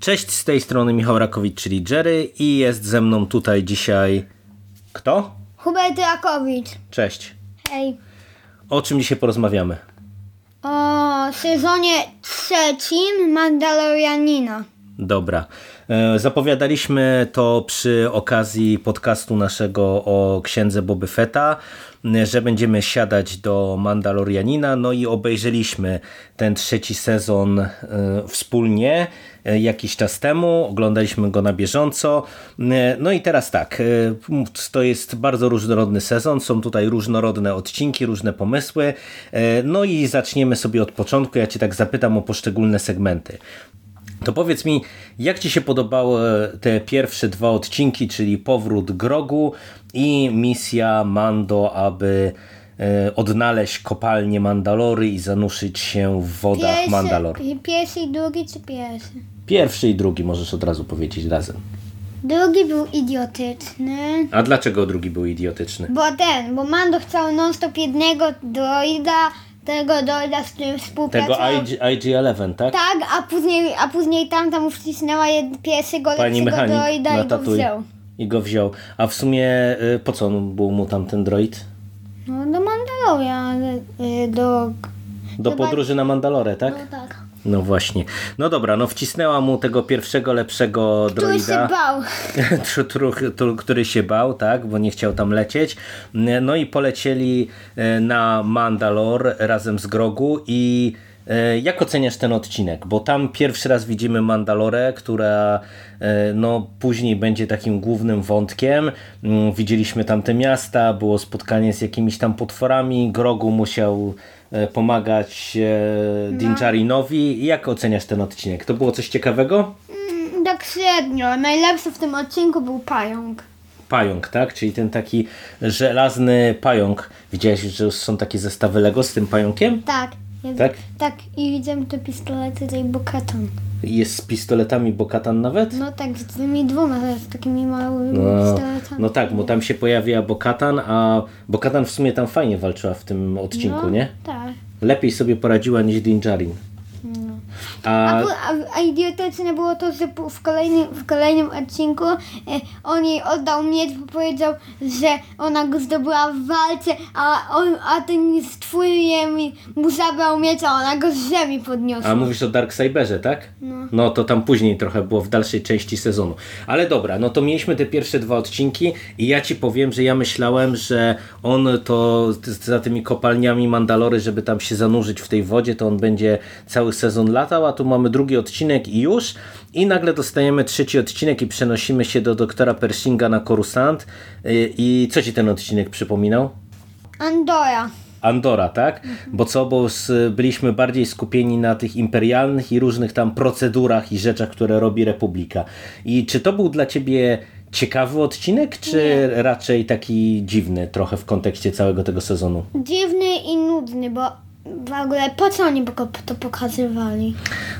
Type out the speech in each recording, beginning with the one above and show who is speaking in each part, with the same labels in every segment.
Speaker 1: Cześć, z tej strony Michał Rakowicz, czyli Jerry i jest ze mną tutaj dzisiaj... Kto?
Speaker 2: Hubert Rakowicz.
Speaker 1: Cześć.
Speaker 2: Hej.
Speaker 1: O czym dzisiaj porozmawiamy?
Speaker 2: O sezonie trzecim Mandalorianina.
Speaker 1: Dobra. E, Zapowiadaliśmy to przy okazji podcastu naszego o księdze Boby Feta, m, że będziemy siadać do Mandalorianina, no i obejrzeliśmy ten trzeci sezon e, wspólnie e, jakiś czas temu, oglądaliśmy go na bieżąco. M, No i teraz tak, e, m, to jest bardzo różnorodny sezon, są tutaj różnorodne odcinki, różne pomysły, E, no i zaczniemy sobie od początku, ja Cię tak zapytam o poszczególne segmenty. To powiedz mi, jak Ci się podobały te pierwsze dwa odcinki, czyli powrót Grogu i misja Mando, aby e, odnaleźć kopalnię Mandalory i zanurzyć się w wodach Tak, Mandalor.
Speaker 2: pierwszy, drugi czy pierwszy?
Speaker 1: Pierwszy i drugi możesz od razu powiedzieć razem.
Speaker 2: Drugi był idiotyczny.
Speaker 1: A dlaczego drugi był idiotyczny?
Speaker 2: Bo ten, bo Mando chciał non stop jednego droida, tego droida, z którym
Speaker 1: Tego
Speaker 2: współpracował.
Speaker 1: IG, IG-11, tak?
Speaker 2: Tak, a później, a później tamta mu wcisnęła jed, pierwszego
Speaker 1: Pani
Speaker 2: lepszego
Speaker 1: mechanik
Speaker 2: droida
Speaker 1: na
Speaker 2: i go
Speaker 1: tatuj.
Speaker 2: wziął.
Speaker 1: I go wziął. A w sumie y, po co on był mu tamten droid?
Speaker 2: No do Mandalorian, y, do...
Speaker 1: Do
Speaker 2: Chyba-
Speaker 1: podróży na Mandalorę, tak?
Speaker 2: tak.
Speaker 1: No właśnie. No dobra, no wcisnęła mu tego pierwszego lepszego
Speaker 2: Który się
Speaker 1: droida,
Speaker 2: bał.
Speaker 1: tru, tru, tru, który się bał, tak, bo nie chciał tam lecieć. No i polecieli e, na Mandalor razem z Grogu i e, jak oceniasz ten odcinek? Bo tam pierwszy raz widzimy Mandalorę, która e, no, później będzie takim głównym wątkiem. Mm, Widzieliśmy tam te miasta, było spotkanie z jakimiś tam potworami, Grogu musiał e, pomagać e, Dinjarinowi. Jak oceniasz ten odcinek? To było coś ciekawego?
Speaker 2: Mm, Tak średnio. Najlepszy w tym odcinku był pająk.
Speaker 1: pająk, tak? Czyli ten taki żelazny pająk. Widziałeś, że już są takie zestawy Lego z tym pająkiem?
Speaker 2: Tak. Ja-
Speaker 1: Tak?
Speaker 2: Tak. I widziałem te pistolety tej Bokaton.
Speaker 1: I Jest z pistoletami Bokatan nawet?
Speaker 2: No tak, z tymi dwoma, z takimi małymi
Speaker 1: No,
Speaker 2: pistoletami.
Speaker 1: no tak, bo tam się pojawia Bokatan, a Bokatan w sumie tam fajnie walczyła w tym odcinku,
Speaker 2: No,
Speaker 1: nie?
Speaker 2: Tak.
Speaker 1: Lepiej sobie poradziła niż Dinjarin.
Speaker 2: No. A,
Speaker 1: A
Speaker 2: pu- a, a idiotyczne było to, że po- w kolejnym, w kolejnym odcinku e, on jej oddał miecz, bo powiedział, że ona go zdobyła w walce, a, on, a ten z twórem mu zabrał miecz, a ona go z ziemi podniosła.
Speaker 1: A mówisz o Dark Cyberze, tak? No. to tam później trochę było w dalszej części sezonu. Ale dobra, no to mieliśmy te pierwsze dwa odcinki i ja ci powiem, że ja myślałem, że on to t- za tymi kopalniami Mandalory, żeby tam się zanurzyć w tej wodzie, to on będzie cały sezon latał, a tu mamy drugi odcinek i już. I nagle dostajemy trzeci odcinek i przenosimy się do doktora Pershinga na Coruscant. Y, I co ci ten odcinek przypominał?
Speaker 2: Andora.
Speaker 1: Andora, tak? Bo co, bo z, byliśmy bardziej skupieni na tych imperialnych i różnych tam procedurach i rzeczach, które robi Republika. I czy to był dla ciebie ciekawy odcinek, czy raczej taki dziwny trochę w kontekście całego tego sezonu?
Speaker 2: Dziwny i nudny, bo w ogóle po co oni go to pokazywali?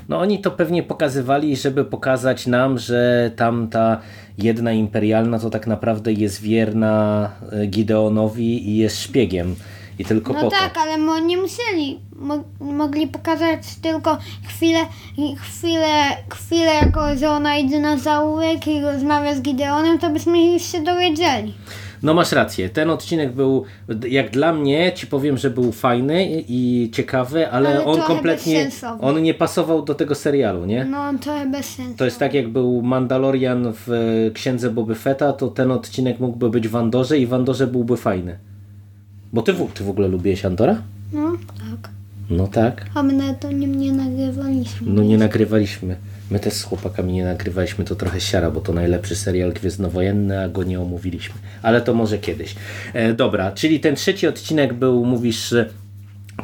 Speaker 1: No oni to pewnie pokazywali, żeby pokazać nam, że tamta jedna imperialna to tak naprawdę jest wierna y, Gideonowi i jest szpiegiem. I tylko po
Speaker 2: No
Speaker 1: to.
Speaker 2: tak, ale mo nie musieli. Mo mogli pokazać tylko chwilę, chwilę, chwilę, jako że ona idzie na zaułek i rozmawia z Gideonem, to byśmy już się dowiedzieli.
Speaker 1: No masz rację, ten odcinek był, d- jak dla mnie, ci powiem, że był fajny i- i ciekawy, ale,
Speaker 2: Ale
Speaker 1: on
Speaker 2: trochę
Speaker 1: kompletnie,
Speaker 2: bezsensowny.
Speaker 1: on nie pasował do tego serialu, nie?
Speaker 2: No to bez sensu.
Speaker 1: To jest tak jak był Mandalorian w e, Księdze Boby Fetta, to ten odcinek mógłby być w Andorze i w Andorze byłby fajny. Bo ty, w- ty w ogóle lubiłeś Andora?
Speaker 2: No tak.
Speaker 1: No tak.
Speaker 2: A my na to nie, nie nagrywaliśmy.
Speaker 1: No nie nagrywaliśmy. My też z chłopakami nie nagrywaliśmy, to trochę siara, bo to najlepszy serial gwiezdnowojenny, a go nie omówiliśmy. Ale to może kiedyś. E, dobra, czyli ten trzeci odcinek był, mówisz, e,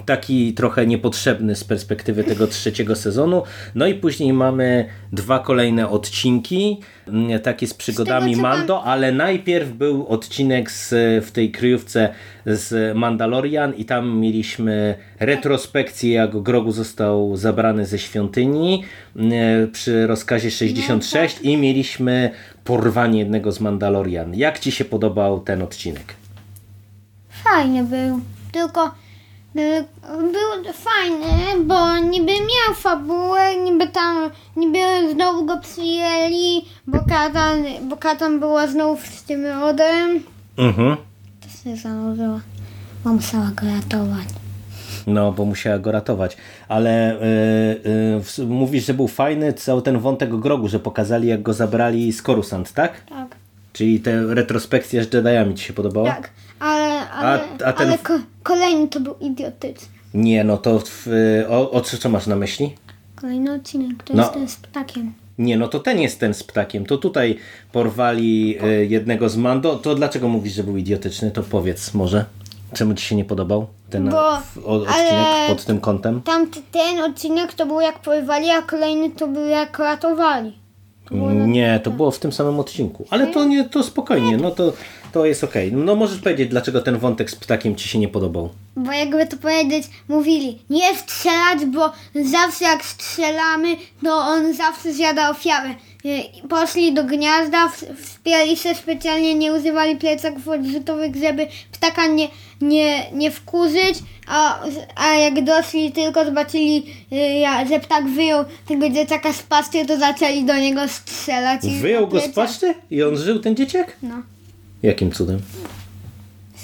Speaker 1: taki trochę niepotrzebny z perspektywy tego trzeciego sezonu. No i później mamy dwa kolejne odcinki, mm, takie z przygodami
Speaker 2: co
Speaker 1: Mando, ale najpierw był odcinek z, w tej kryjówce z Mandalorian i tam mieliśmy retrospekcję, jak Grogu został zabrany ze świątyni mm, przy rozkazie 66 i mieliśmy porwanie jednego z Mandalorian. Jak Ci się podobał ten odcinek?
Speaker 2: Fajny był, tylko Y, Był fajny, bo niby miał fabułę, niby tam, niby znowu go przyjęli, bo Katan, bo Katan była znów z tym rodem.
Speaker 1: Mhm.
Speaker 2: To się zanurzyła, bo musiała go ratować.
Speaker 1: No, bo musiała go ratować. Ale y, y, w- mówisz, że był fajny cały ten wątek grogu, że pokazali jak go zabrali z Coruscant, tak?
Speaker 2: Tak.
Speaker 1: Czyli te retrospekcje z Jediami ci się podobała?
Speaker 2: Tak, ale, ale,
Speaker 1: a ten-
Speaker 2: ale ko- kolejny to był idiotyczny.
Speaker 1: Nie, no to w, y, o, o co, co masz na myśli?
Speaker 2: Kolejny odcinek, to
Speaker 1: No.
Speaker 2: jest ten z ptakiem.
Speaker 1: Nie, no to ten jest ten z ptakiem. To tutaj porwali y, jednego z Mando. To dlaczego mówisz, że był idiotyczny? To powiedz może. Czemu ci się nie podobał ten
Speaker 2: Bo-
Speaker 1: o- o, odcinek
Speaker 2: ale-
Speaker 1: pod tym kątem?
Speaker 2: Tam ten odcinek to był jak pływali, a kolejny to był jak ratowali.
Speaker 1: Nie,
Speaker 2: tak.
Speaker 1: to było w tym samym odcinku. Ale to nie, to spokojnie, no to, to jest okej. No możesz powiedzieć, dlaczego ten wątek z ptakiem ci się nie podobał.
Speaker 2: Bo jakby to powiedzieć, mówili nie strzelać, bo zawsze jak strzelamy, to on zawsze zjada ofiarę. I Poszli do gniazda, w- wspierali się specjalnie, nie używali plecaków odrzutowych, żeby ptaka nie, nie, nie wkurzyć, a, a jak doszli tylko zobaczyli, y, ja- że ptak wyjął tego dzieciaka z paszczy, to zaczęli do niego strzelać. i
Speaker 1: Wyjął go z
Speaker 2: odleciał.
Speaker 1: paszczy i on żył, ten dzieciak?
Speaker 2: No,
Speaker 1: Jakim cudem?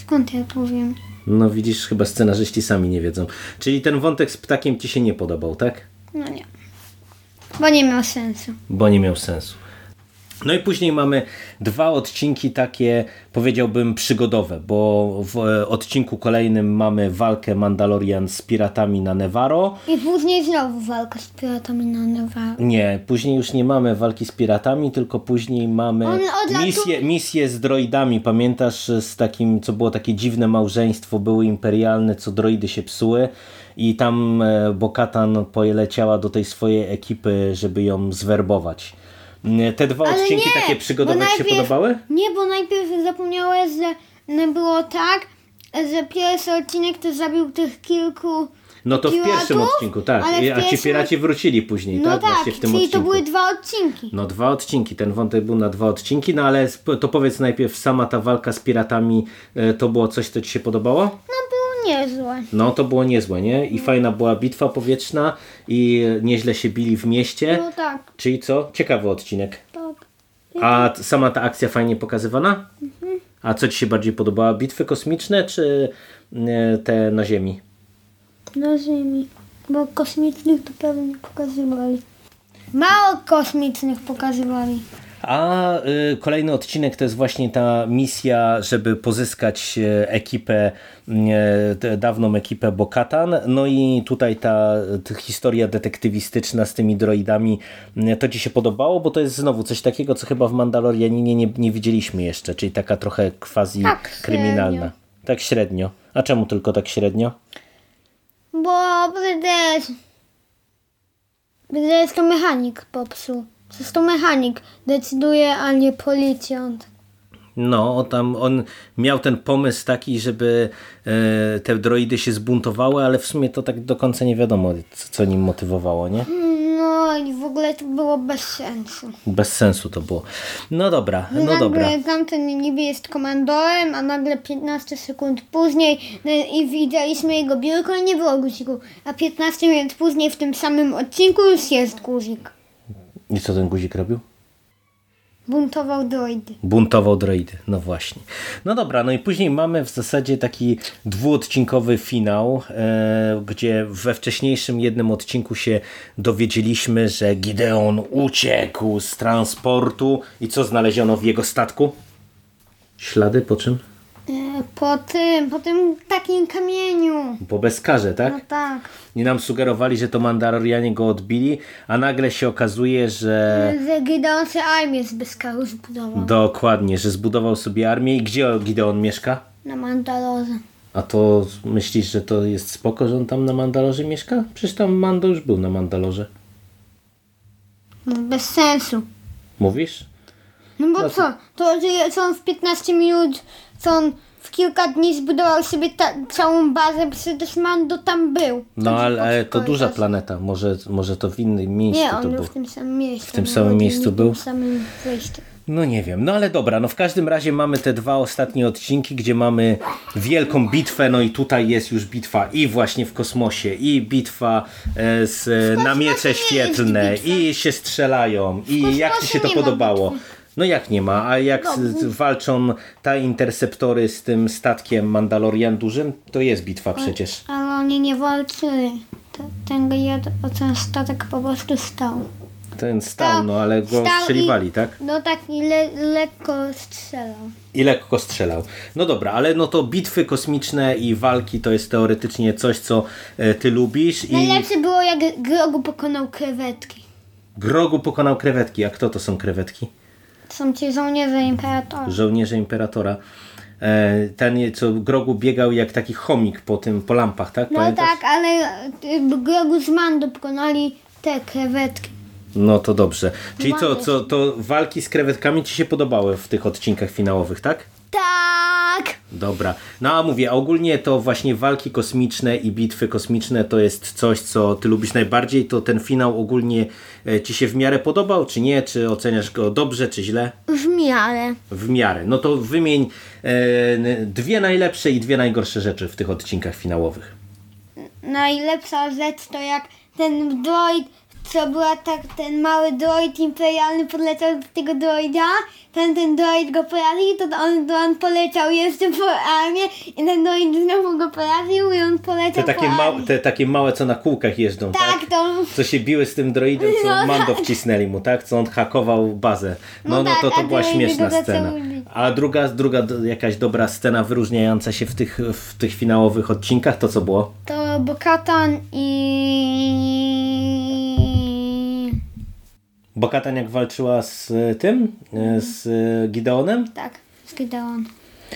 Speaker 2: skąd ja to wiem?
Speaker 1: No widzisz, chyba scenarzyści sami nie wiedzą. Czyli ten wątek z ptakiem ci się nie podobał, tak?
Speaker 2: No nie. Bo nie miał sensu.
Speaker 1: bo nie miał sensu. No i później mamy dwa odcinki takie, powiedziałbym, przygodowe, bo w e, odcinku kolejnym mamy walkę Mandalorian z piratami na Nevarro.
Speaker 2: I później znowu walka z piratami na Nowal.
Speaker 1: Nie, później już nie mamy walki z piratami, tylko później mamy
Speaker 2: On odlatuje-
Speaker 1: misję, misję z droidami. Pamiętasz e, z takim, co było takie dziwne małżeństwo, były imperialne, co droidy się psuły i tam e, Bokatan poleciała do tej swojej ekipy, żeby ją zwerbować. Mm, Te dwa odcinki takie przygodowe
Speaker 2: bo
Speaker 1: ci się
Speaker 2: najpierw-
Speaker 1: podobały?
Speaker 2: Nie, bo najpierw zapomniałeś, że no, było tak, że pierwszy odcinek to zabił tych kilku
Speaker 1: No to w
Speaker 2: piratów,
Speaker 1: pierwszym odcinku, tak.
Speaker 2: ale w
Speaker 1: I- A ci
Speaker 2: pierwszym-
Speaker 1: piraci wrócili później,
Speaker 2: No
Speaker 1: tak?
Speaker 2: tak,
Speaker 1: Właśnie w
Speaker 2: czyli
Speaker 1: tym odcinku.
Speaker 2: to były dwa odcinki.
Speaker 1: No dwa odcinki, ten wątek był na dwa odcinki, no ale sp- to powiedz najpierw sama ta walka z piratami, e, to było coś, co Ci się podobało?
Speaker 2: No było niezłe.
Speaker 1: No to było niezłe, nie? I fajna była bitwa powietrzna i e, nieźle się bili w mieście,
Speaker 2: No tak,
Speaker 1: czyli co? Ciekawy odcinek.
Speaker 2: tak.
Speaker 1: A t- sama ta akcja fajnie pokazywana? A co Ci się bardziej podobała? Bitwy kosmiczne czy e, te na ziemi?
Speaker 2: Na ziemi. Bo kosmicznych to pewnie nie pokazywali. Mało kosmicznych pokazywali.
Speaker 1: A y, kolejny odcinek to jest właśnie ta misja, żeby pozyskać e, ekipę, m, e, d- dawną ekipę Bokatan. No i tutaj ta, ta historia detektywistyczna z tymi droidami, m, to Ci się podobało? Bo to jest znowu coś takiego, co chyba w Mandalorianinie nie, nie widzieliśmy jeszcze, czyli taka trochę quasi
Speaker 2: Tak średnio.
Speaker 1: kryminalna. Tak średnio. A czemu tylko tak średnio?
Speaker 2: Bo Brydez... Brydez to mechanik popsuł. Przecież to mechanik decyduje, a nie policjant.
Speaker 1: No, on tam on miał ten pomysł taki, żeby e, te droidy się zbuntowały, ale w sumie to tak do końca nie wiadomo, co, co nim motywowało, nie?
Speaker 2: No i w ogóle to było bez sensu.
Speaker 1: Bez sensu to było. No dobra, no dobra.
Speaker 2: nagle tamten niby jest komandorem, a nagle 15 sekund później no, i widzieliśmy jego biurko i nie było guziku. A 15 minut później w tym samym odcinku już jest guzik.
Speaker 1: I co ten guzik robił?
Speaker 2: Buntował droidy.
Speaker 1: Buntował droidy, no właśnie. No dobra, no i później mamy w zasadzie taki dwuodcinkowy finał, e, gdzie we wcześniejszym jednym odcinku się dowiedzieliśmy, że Gideon uciekł z transportu i co znaleziono w jego statku? Ślady po czym?
Speaker 2: E, Po tym, po tym takim kamieniu.
Speaker 1: Po bezkarze, tak?
Speaker 2: No tak.
Speaker 1: I nam sugerowali, że to Mandalorianie go odbili, a nagle się okazuje, że
Speaker 2: Że Gideon się armię z Beskaru zbudował
Speaker 1: dokładnie, że zbudował sobie armię i gdzie Gideon mieszka?
Speaker 2: na Mandalorze.
Speaker 1: A to myślisz, że to jest spoko, że on tam na Mandalorze mieszka? Przecież tam Mando już był na Mandalorze.
Speaker 2: No bez sensu.
Speaker 1: Mówisz?
Speaker 2: No bo co? To, że co on w 15 minut, co on w kilka dni zbudował sobie ta, całą bazę, przecież Mando tam był.
Speaker 1: No
Speaker 2: Chodzi
Speaker 1: ale
Speaker 2: po
Speaker 1: ale to
Speaker 2: korytarz.
Speaker 1: duża planeta, może, może to w innym miejscu
Speaker 2: Nie,
Speaker 1: to
Speaker 2: on był
Speaker 1: było.
Speaker 2: w tym samym miejscu.
Speaker 1: W tym
Speaker 2: no,
Speaker 1: samym
Speaker 2: oni
Speaker 1: miejscu
Speaker 2: mieli
Speaker 1: był?
Speaker 2: W tym samym wejściu.
Speaker 1: No nie wiem, no ale dobra, no w każdym razie mamy te dwa ostatnie odcinki, gdzie mamy wielką bitwę, no i tutaj jest już bitwa i właśnie w kosmosie, i bitwa e, z, e, na miecze
Speaker 2: kosmosie nie jest
Speaker 1: świetlne,
Speaker 2: bitwa.
Speaker 1: i się strzelają, i
Speaker 2: kosmosie
Speaker 1: jak Ci się to
Speaker 2: nie ma No,
Speaker 1: podobało? No jak nie ma, a jak z, z, walczą ta interceptory z tym statkiem Mandalorian dużym, to jest bitwa
Speaker 2: Tak.
Speaker 1: przecież.
Speaker 2: Ale oni nie walczyli. T- Ten, jed- o ten statek po prostu stał.
Speaker 1: Ten stał, no ale go
Speaker 2: Stał i-
Speaker 1: strzeliwali, tak?
Speaker 2: No tak, i le, lekko strzelał.
Speaker 1: I lekko strzelał. No dobra, ale no to bitwy kosmiczne i walki to jest teoretycznie coś, co e, ty lubisz i
Speaker 2: Najlepsze było, jak Grogu pokonał krewetki.
Speaker 1: Grogu pokonał krewetki. A kto to są krewetki?
Speaker 2: Są ci żołnierze imperatora.
Speaker 1: Żołnierze Imperatora. E, ten, co Grogu biegał jak taki chomik po tym, po lampach, tak?
Speaker 2: No
Speaker 1: Pamiętasz?
Speaker 2: tak, ale y, Grogu z Mando pokonali te krewetki.
Speaker 1: No to dobrze. Czyli co,
Speaker 2: Ładnie.
Speaker 1: co, to walki z krewetkami ci się podobały w tych odcinkach finałowych, tak?
Speaker 2: Tak!
Speaker 1: Dobra. No a mówię, a ogólnie to właśnie walki kosmiczne i bitwy kosmiczne to jest coś, co ty lubisz najbardziej. To ten finał ogólnie e, ci się w miarę podobał, czy nie? Czy oceniasz go dobrze, czy źle?
Speaker 2: W miarę.
Speaker 1: W miarę. No to wymień e, n- dwie najlepsze i dwie najgorsze rzeczy w tych odcinkach finałowych.
Speaker 2: Najlepsza rzecz to jak ten droid, co była tak, ten mały droid imperialny podleciał do tego droida, ten, ten droid go poraził, to on, to on poleciał jeszcze po armię i ten droid znowu go poraził i on
Speaker 1: Te
Speaker 2: poleciał po
Speaker 1: takie,
Speaker 2: armię.
Speaker 1: ma- te takie małe, co na kółkach jeżdżą, tak?
Speaker 2: Tak, to...
Speaker 1: Co się biły z tym droidem, co
Speaker 2: No tak.
Speaker 1: Mando wcisnęli mu, tak? Co on hakował bazę. No, no,
Speaker 2: No tak,
Speaker 1: to, to
Speaker 2: a
Speaker 1: była
Speaker 2: droidy
Speaker 1: śmieszna
Speaker 2: go zaczęły
Speaker 1: scena.
Speaker 2: bić.
Speaker 1: A druga, druga d- jakaś dobra scena wyróżniająca się w tych, w tych finałowych odcinkach, to co było?
Speaker 2: To Bokatan i...
Speaker 1: Bokatan jak walczyła z y, tym, y,
Speaker 2: Mhm.
Speaker 1: z y, Gideonem?
Speaker 2: Tak, z Gideon.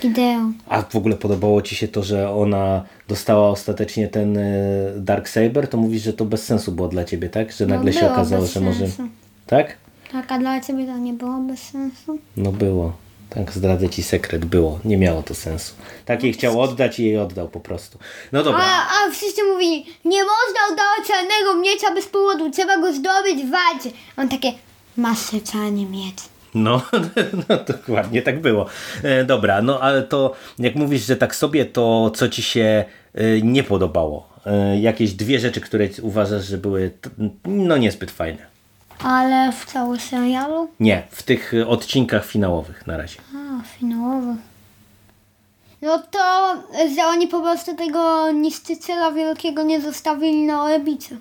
Speaker 2: Gideon.
Speaker 1: A w ogóle podobało Ci się to, że ona dostała ostatecznie ten y, Dark Saber? To mówisz, że to bez sensu było dla Ciebie, tak? Że
Speaker 2: No,
Speaker 1: nagle się
Speaker 2: było
Speaker 1: okazało,
Speaker 2: bez
Speaker 1: że może...
Speaker 2: sensu.
Speaker 1: Tak?
Speaker 2: Tak, a dla ciebie to nie było bez sensu?
Speaker 1: No było. Tak, zdradzę ci sekret, było. Nie miało to sensu. Tak jej chciał oddać i jej oddał po prostu. No dobra.
Speaker 2: A, a wszyscy mówili, nie można oddawać czarnego miecza bez powodu, trzeba go zdobyć w walce. On takie, masz czarny miecz.
Speaker 1: No, no dokładnie tak było. E, dobra, no ale to jak mówisz, że tak sobie, to co ci się e, nie podobało? E, jakieś dwie rzeczy, które ci- uważasz, że były t- no niezbyt fajne.
Speaker 2: Ale w całym serialu?
Speaker 1: Nie, w tych e, odcinkach finałowych na razie.
Speaker 2: A, finałowy. No to, że oni po prostu tego niszczyciela wielkiego nie zostawili na orbicie.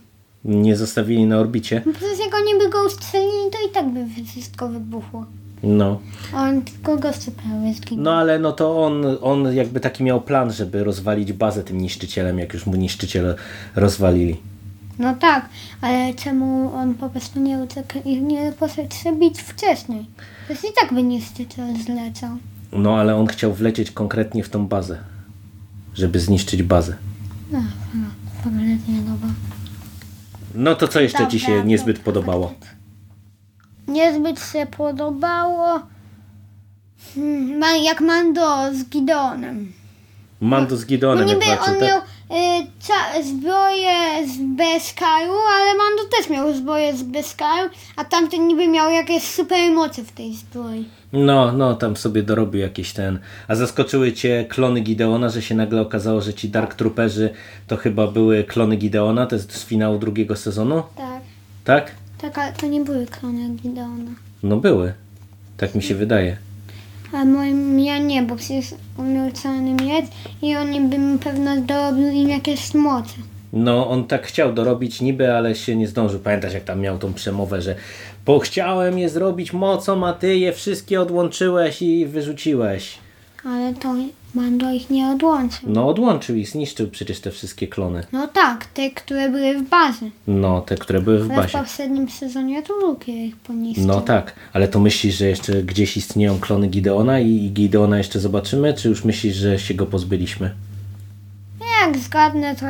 Speaker 1: Nie zostawili na orbicie.
Speaker 2: No Przecież jak oni by go ustrzelili, to i tak by wszystko wybuchło.
Speaker 1: No,
Speaker 2: A on tylko goście prawie zginął.
Speaker 1: No ale no to on, on jakby taki miał plan, żeby rozwalić bazę tym niszczycielem, jak już mu niszczyciele rozwalili.
Speaker 2: No tak, ale czemu on po prostu nie uciekł i nie poszedł się bić wcześniej? Przecież i tak by niszczyciel zleciał.
Speaker 1: No ale on chciał wlecieć konkretnie w tą bazę, żeby zniszczyć bazę.
Speaker 2: No, no, w ogóle nie nowa.
Speaker 1: No to co jeszcze Ci
Speaker 2: Dobra,
Speaker 1: się niezbyt
Speaker 2: dobra.
Speaker 1: podobało?
Speaker 2: Niezbyt się podobało, hmm, ma- jak Mando z Gideonem.
Speaker 1: Mando z
Speaker 2: No
Speaker 1: Gideonem jak
Speaker 2: niby on
Speaker 1: walczył,
Speaker 2: miał
Speaker 1: tak?
Speaker 2: y, cza- zbroję z Beskaju, ale Mando też miał zbroję z Beskaju, a tamten niby miał jakieś super moce w tej zbroi.
Speaker 1: No, no tam sobie dorobił jakiś ten. A zaskoczyły Cię klony Gideona, że się nagle okazało, że ci Dark Trooperzy to chyba były klony Gideona, to jest z finału drugiego sezonu,
Speaker 2: Tak,
Speaker 1: tak?
Speaker 2: tak, ale to nie były klony Gideona.
Speaker 1: No były. Tak mi się wydaje.
Speaker 2: A moim ja nie, bo przecież on miał czarny miecz i oni by mi pewno dorobił im jakieś moce.
Speaker 1: No, on tak chciał dorobić niby, ale się nie zdążył. Pamiętasz, jak tam miał tą przemowę, że bo chciałem je zrobić mocą, a ty je wszystkie odłączyłeś i wyrzuciłeś.
Speaker 2: Ale to Mando ich nie odłączył.
Speaker 1: No, odłączył i zniszczył przecież te wszystkie klony.
Speaker 2: No tak, te, które były w bazie.
Speaker 1: No, te, które były w
Speaker 2: Ale w
Speaker 1: bazie.
Speaker 2: poprzednim sezonie to Luke ich poniszczył.
Speaker 1: No tak, ale to myślisz, że jeszcze gdzieś istnieją klony Gideona i i Gideona jeszcze zobaczymy, czy już myślisz, że się go pozbyliśmy?
Speaker 2: Jak zgadnę to,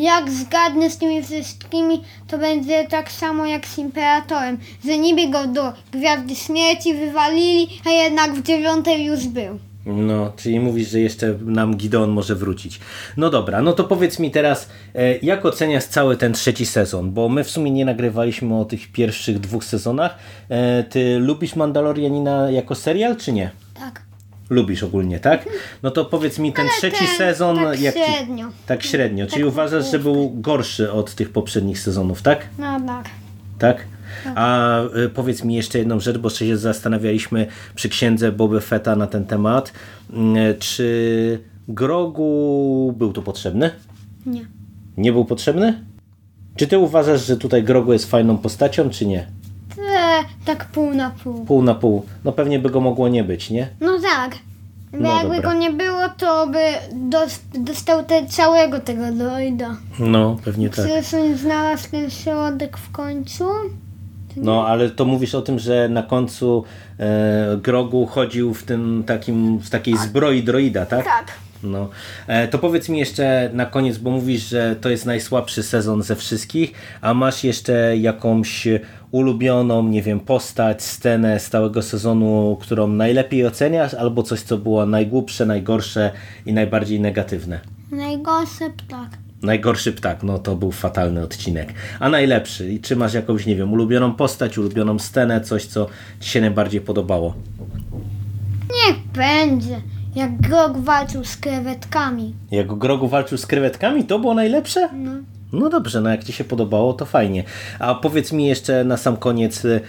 Speaker 2: jak zgadnę z tymi wszystkimi, to będzie tak samo jak z Imperatorem. Że niby go do Gwiazdy Śmierci wywalili, a jednak w dziewiątej już był.
Speaker 1: No, czyli mówisz, że jeszcze nam Gideon może wrócić. No dobra, no to powiedz mi teraz, e, jak oceniasz cały ten trzeci sezon? Bo my w sumie nie nagrywaliśmy o tych pierwszych dwóch sezonach. E, Ty lubisz Mandalorianina jako serial, czy nie?
Speaker 2: Tak.
Speaker 1: Lubisz ogólnie, tak? No to powiedz mi, ten
Speaker 2: Ale
Speaker 1: trzeci
Speaker 2: ten
Speaker 1: sezon...
Speaker 2: tak
Speaker 1: jak ci-
Speaker 2: średnio.
Speaker 1: Tak średnio, czyli uważasz, że był gorszy od tych poprzednich sezonów, tak?
Speaker 2: No tak.
Speaker 1: Tak? A y, powiedz mi jeszcze jedną rzecz, bo się zastanawialiśmy przy księdze Boby Feta na ten temat. Mm, Czy Grogu był tu potrzebny?
Speaker 2: Nie.
Speaker 1: Nie był potrzebny? Czy ty uważasz, że tutaj Grogu jest fajną postacią, czy nie?
Speaker 2: E, tak pół na pół.
Speaker 1: Pół na pół. No pewnie by go mogło nie być, nie?
Speaker 2: No tak. Bo
Speaker 1: No
Speaker 2: jakby
Speaker 1: dobra.
Speaker 2: go nie było, to by dos- dostał te całego tego droida.
Speaker 1: No, pewnie tak.
Speaker 2: Czy Sun znalazł ten środek w końcu?
Speaker 1: No, ale to mówisz o tym, że na końcu e, Grogu chodził w tym takim, w takiej zbroi droida, tak?
Speaker 2: Tak.
Speaker 1: No. E, to powiedz mi jeszcze na koniec, bo mówisz, że to jest najsłabszy sezon ze wszystkich, a masz jeszcze jakąś ulubioną, nie wiem, postać, scenę z całego sezonu, którą najlepiej oceniasz, albo coś, co było najgłupsze, najgorsze i najbardziej negatywne?
Speaker 2: Najgorszy ptak.
Speaker 1: Najgorszy ptak, no to był fatalny odcinek. A najlepszy? I czy masz jakąś, nie wiem, ulubioną postać, ulubioną scenę, coś, co ci się najbardziej podobało?
Speaker 2: Niech będzie. Jak Grog walczył z krewetkami.
Speaker 1: Jak Grogu walczył z krewetkami, to było najlepsze?
Speaker 2: No.
Speaker 1: No dobrze, no jak Ci się podobało, to fajnie. A powiedz mi jeszcze na sam koniec, y,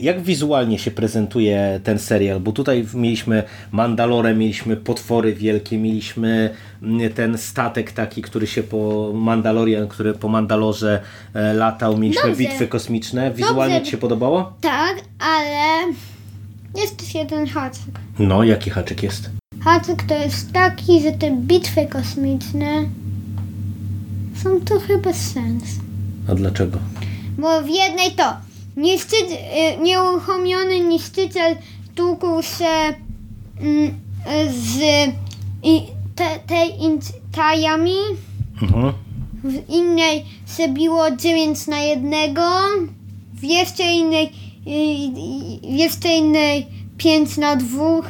Speaker 1: jak wizualnie się prezentuje ten serial? Bo tutaj mieliśmy Mandalorę, mieliśmy potwory wielkie, mieliśmy mm, ten statek taki, który się po Mandalorian, który po Mandalorze e, latał, mieliśmy
Speaker 2: Dobrze.
Speaker 1: bitwy kosmiczne. Wizualnie
Speaker 2: Dobrze.
Speaker 1: Ci się podobało?
Speaker 2: Tak, ale jest też jeden haczyk.
Speaker 1: No, jaki haczyk jest?
Speaker 2: Haczyk to jest taki, że te bitwy kosmiczne są trochę bez sensu.
Speaker 1: A dlaczego?
Speaker 2: Bo w jednej to niszczy, y, nieuruchomiony niszczyciel tłukł się mm, y, z i, te, tej intajami,
Speaker 1: Mhm.
Speaker 2: w innej się biło 9 na jednego, w jeszcze innej, y, y, y, jeszcze innej 5 na dwóch.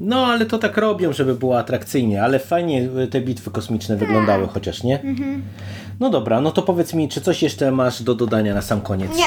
Speaker 1: No, ale to tak robią, żeby było atrakcyjnie, ale fajnie y, te bitwy kosmiczne
Speaker 2: Tak.
Speaker 1: wyglądały chociaż, nie?
Speaker 2: Mhm.
Speaker 1: No dobra, no to powiedz mi, czy coś jeszcze masz do dodania na sam koniec?
Speaker 2: Nie,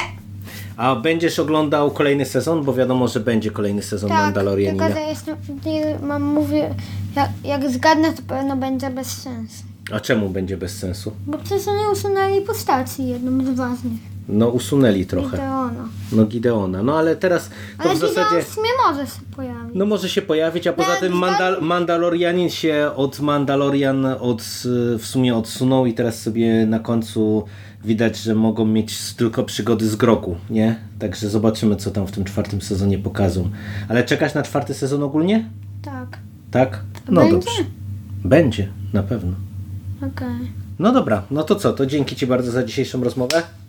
Speaker 1: A będziesz oglądał kolejny sezon, bo wiadomo, że będzie kolejny sezon
Speaker 2: tak,
Speaker 1: Mandalorianina.
Speaker 2: tylko że jestem, nie, mam mówię, jak, jak zgadnę, to pewno będzie bez sensu.
Speaker 1: A czemu będzie bez sensu?
Speaker 2: Bo przecież oni usunęli postaci jedną z ważnych.
Speaker 1: No usunęli trochę.
Speaker 2: Ideona.
Speaker 1: No Gideona. No ale teraz to
Speaker 2: Ale
Speaker 1: w zasadzie...
Speaker 2: Gideon w sumie może się pojawić.
Speaker 1: No może się pojawić, a poza tym Mandal Mandalorianin się od Mandalorian od, y, w sumie odsunął i teraz sobie na końcu widać, że mogą mieć s- tylko przygody z Grogu, nie? Także zobaczymy, co tam w tym czwartym sezonie pokażą. Ale czekasz na czwarty sezon ogólnie?
Speaker 2: Tak,
Speaker 1: Tak? No
Speaker 2: Będzie.
Speaker 1: dobrze. Będzie, na pewno.
Speaker 2: okej.
Speaker 1: No dobra, no to co, to dzięki Ci bardzo za dzisiejszą rozmowę.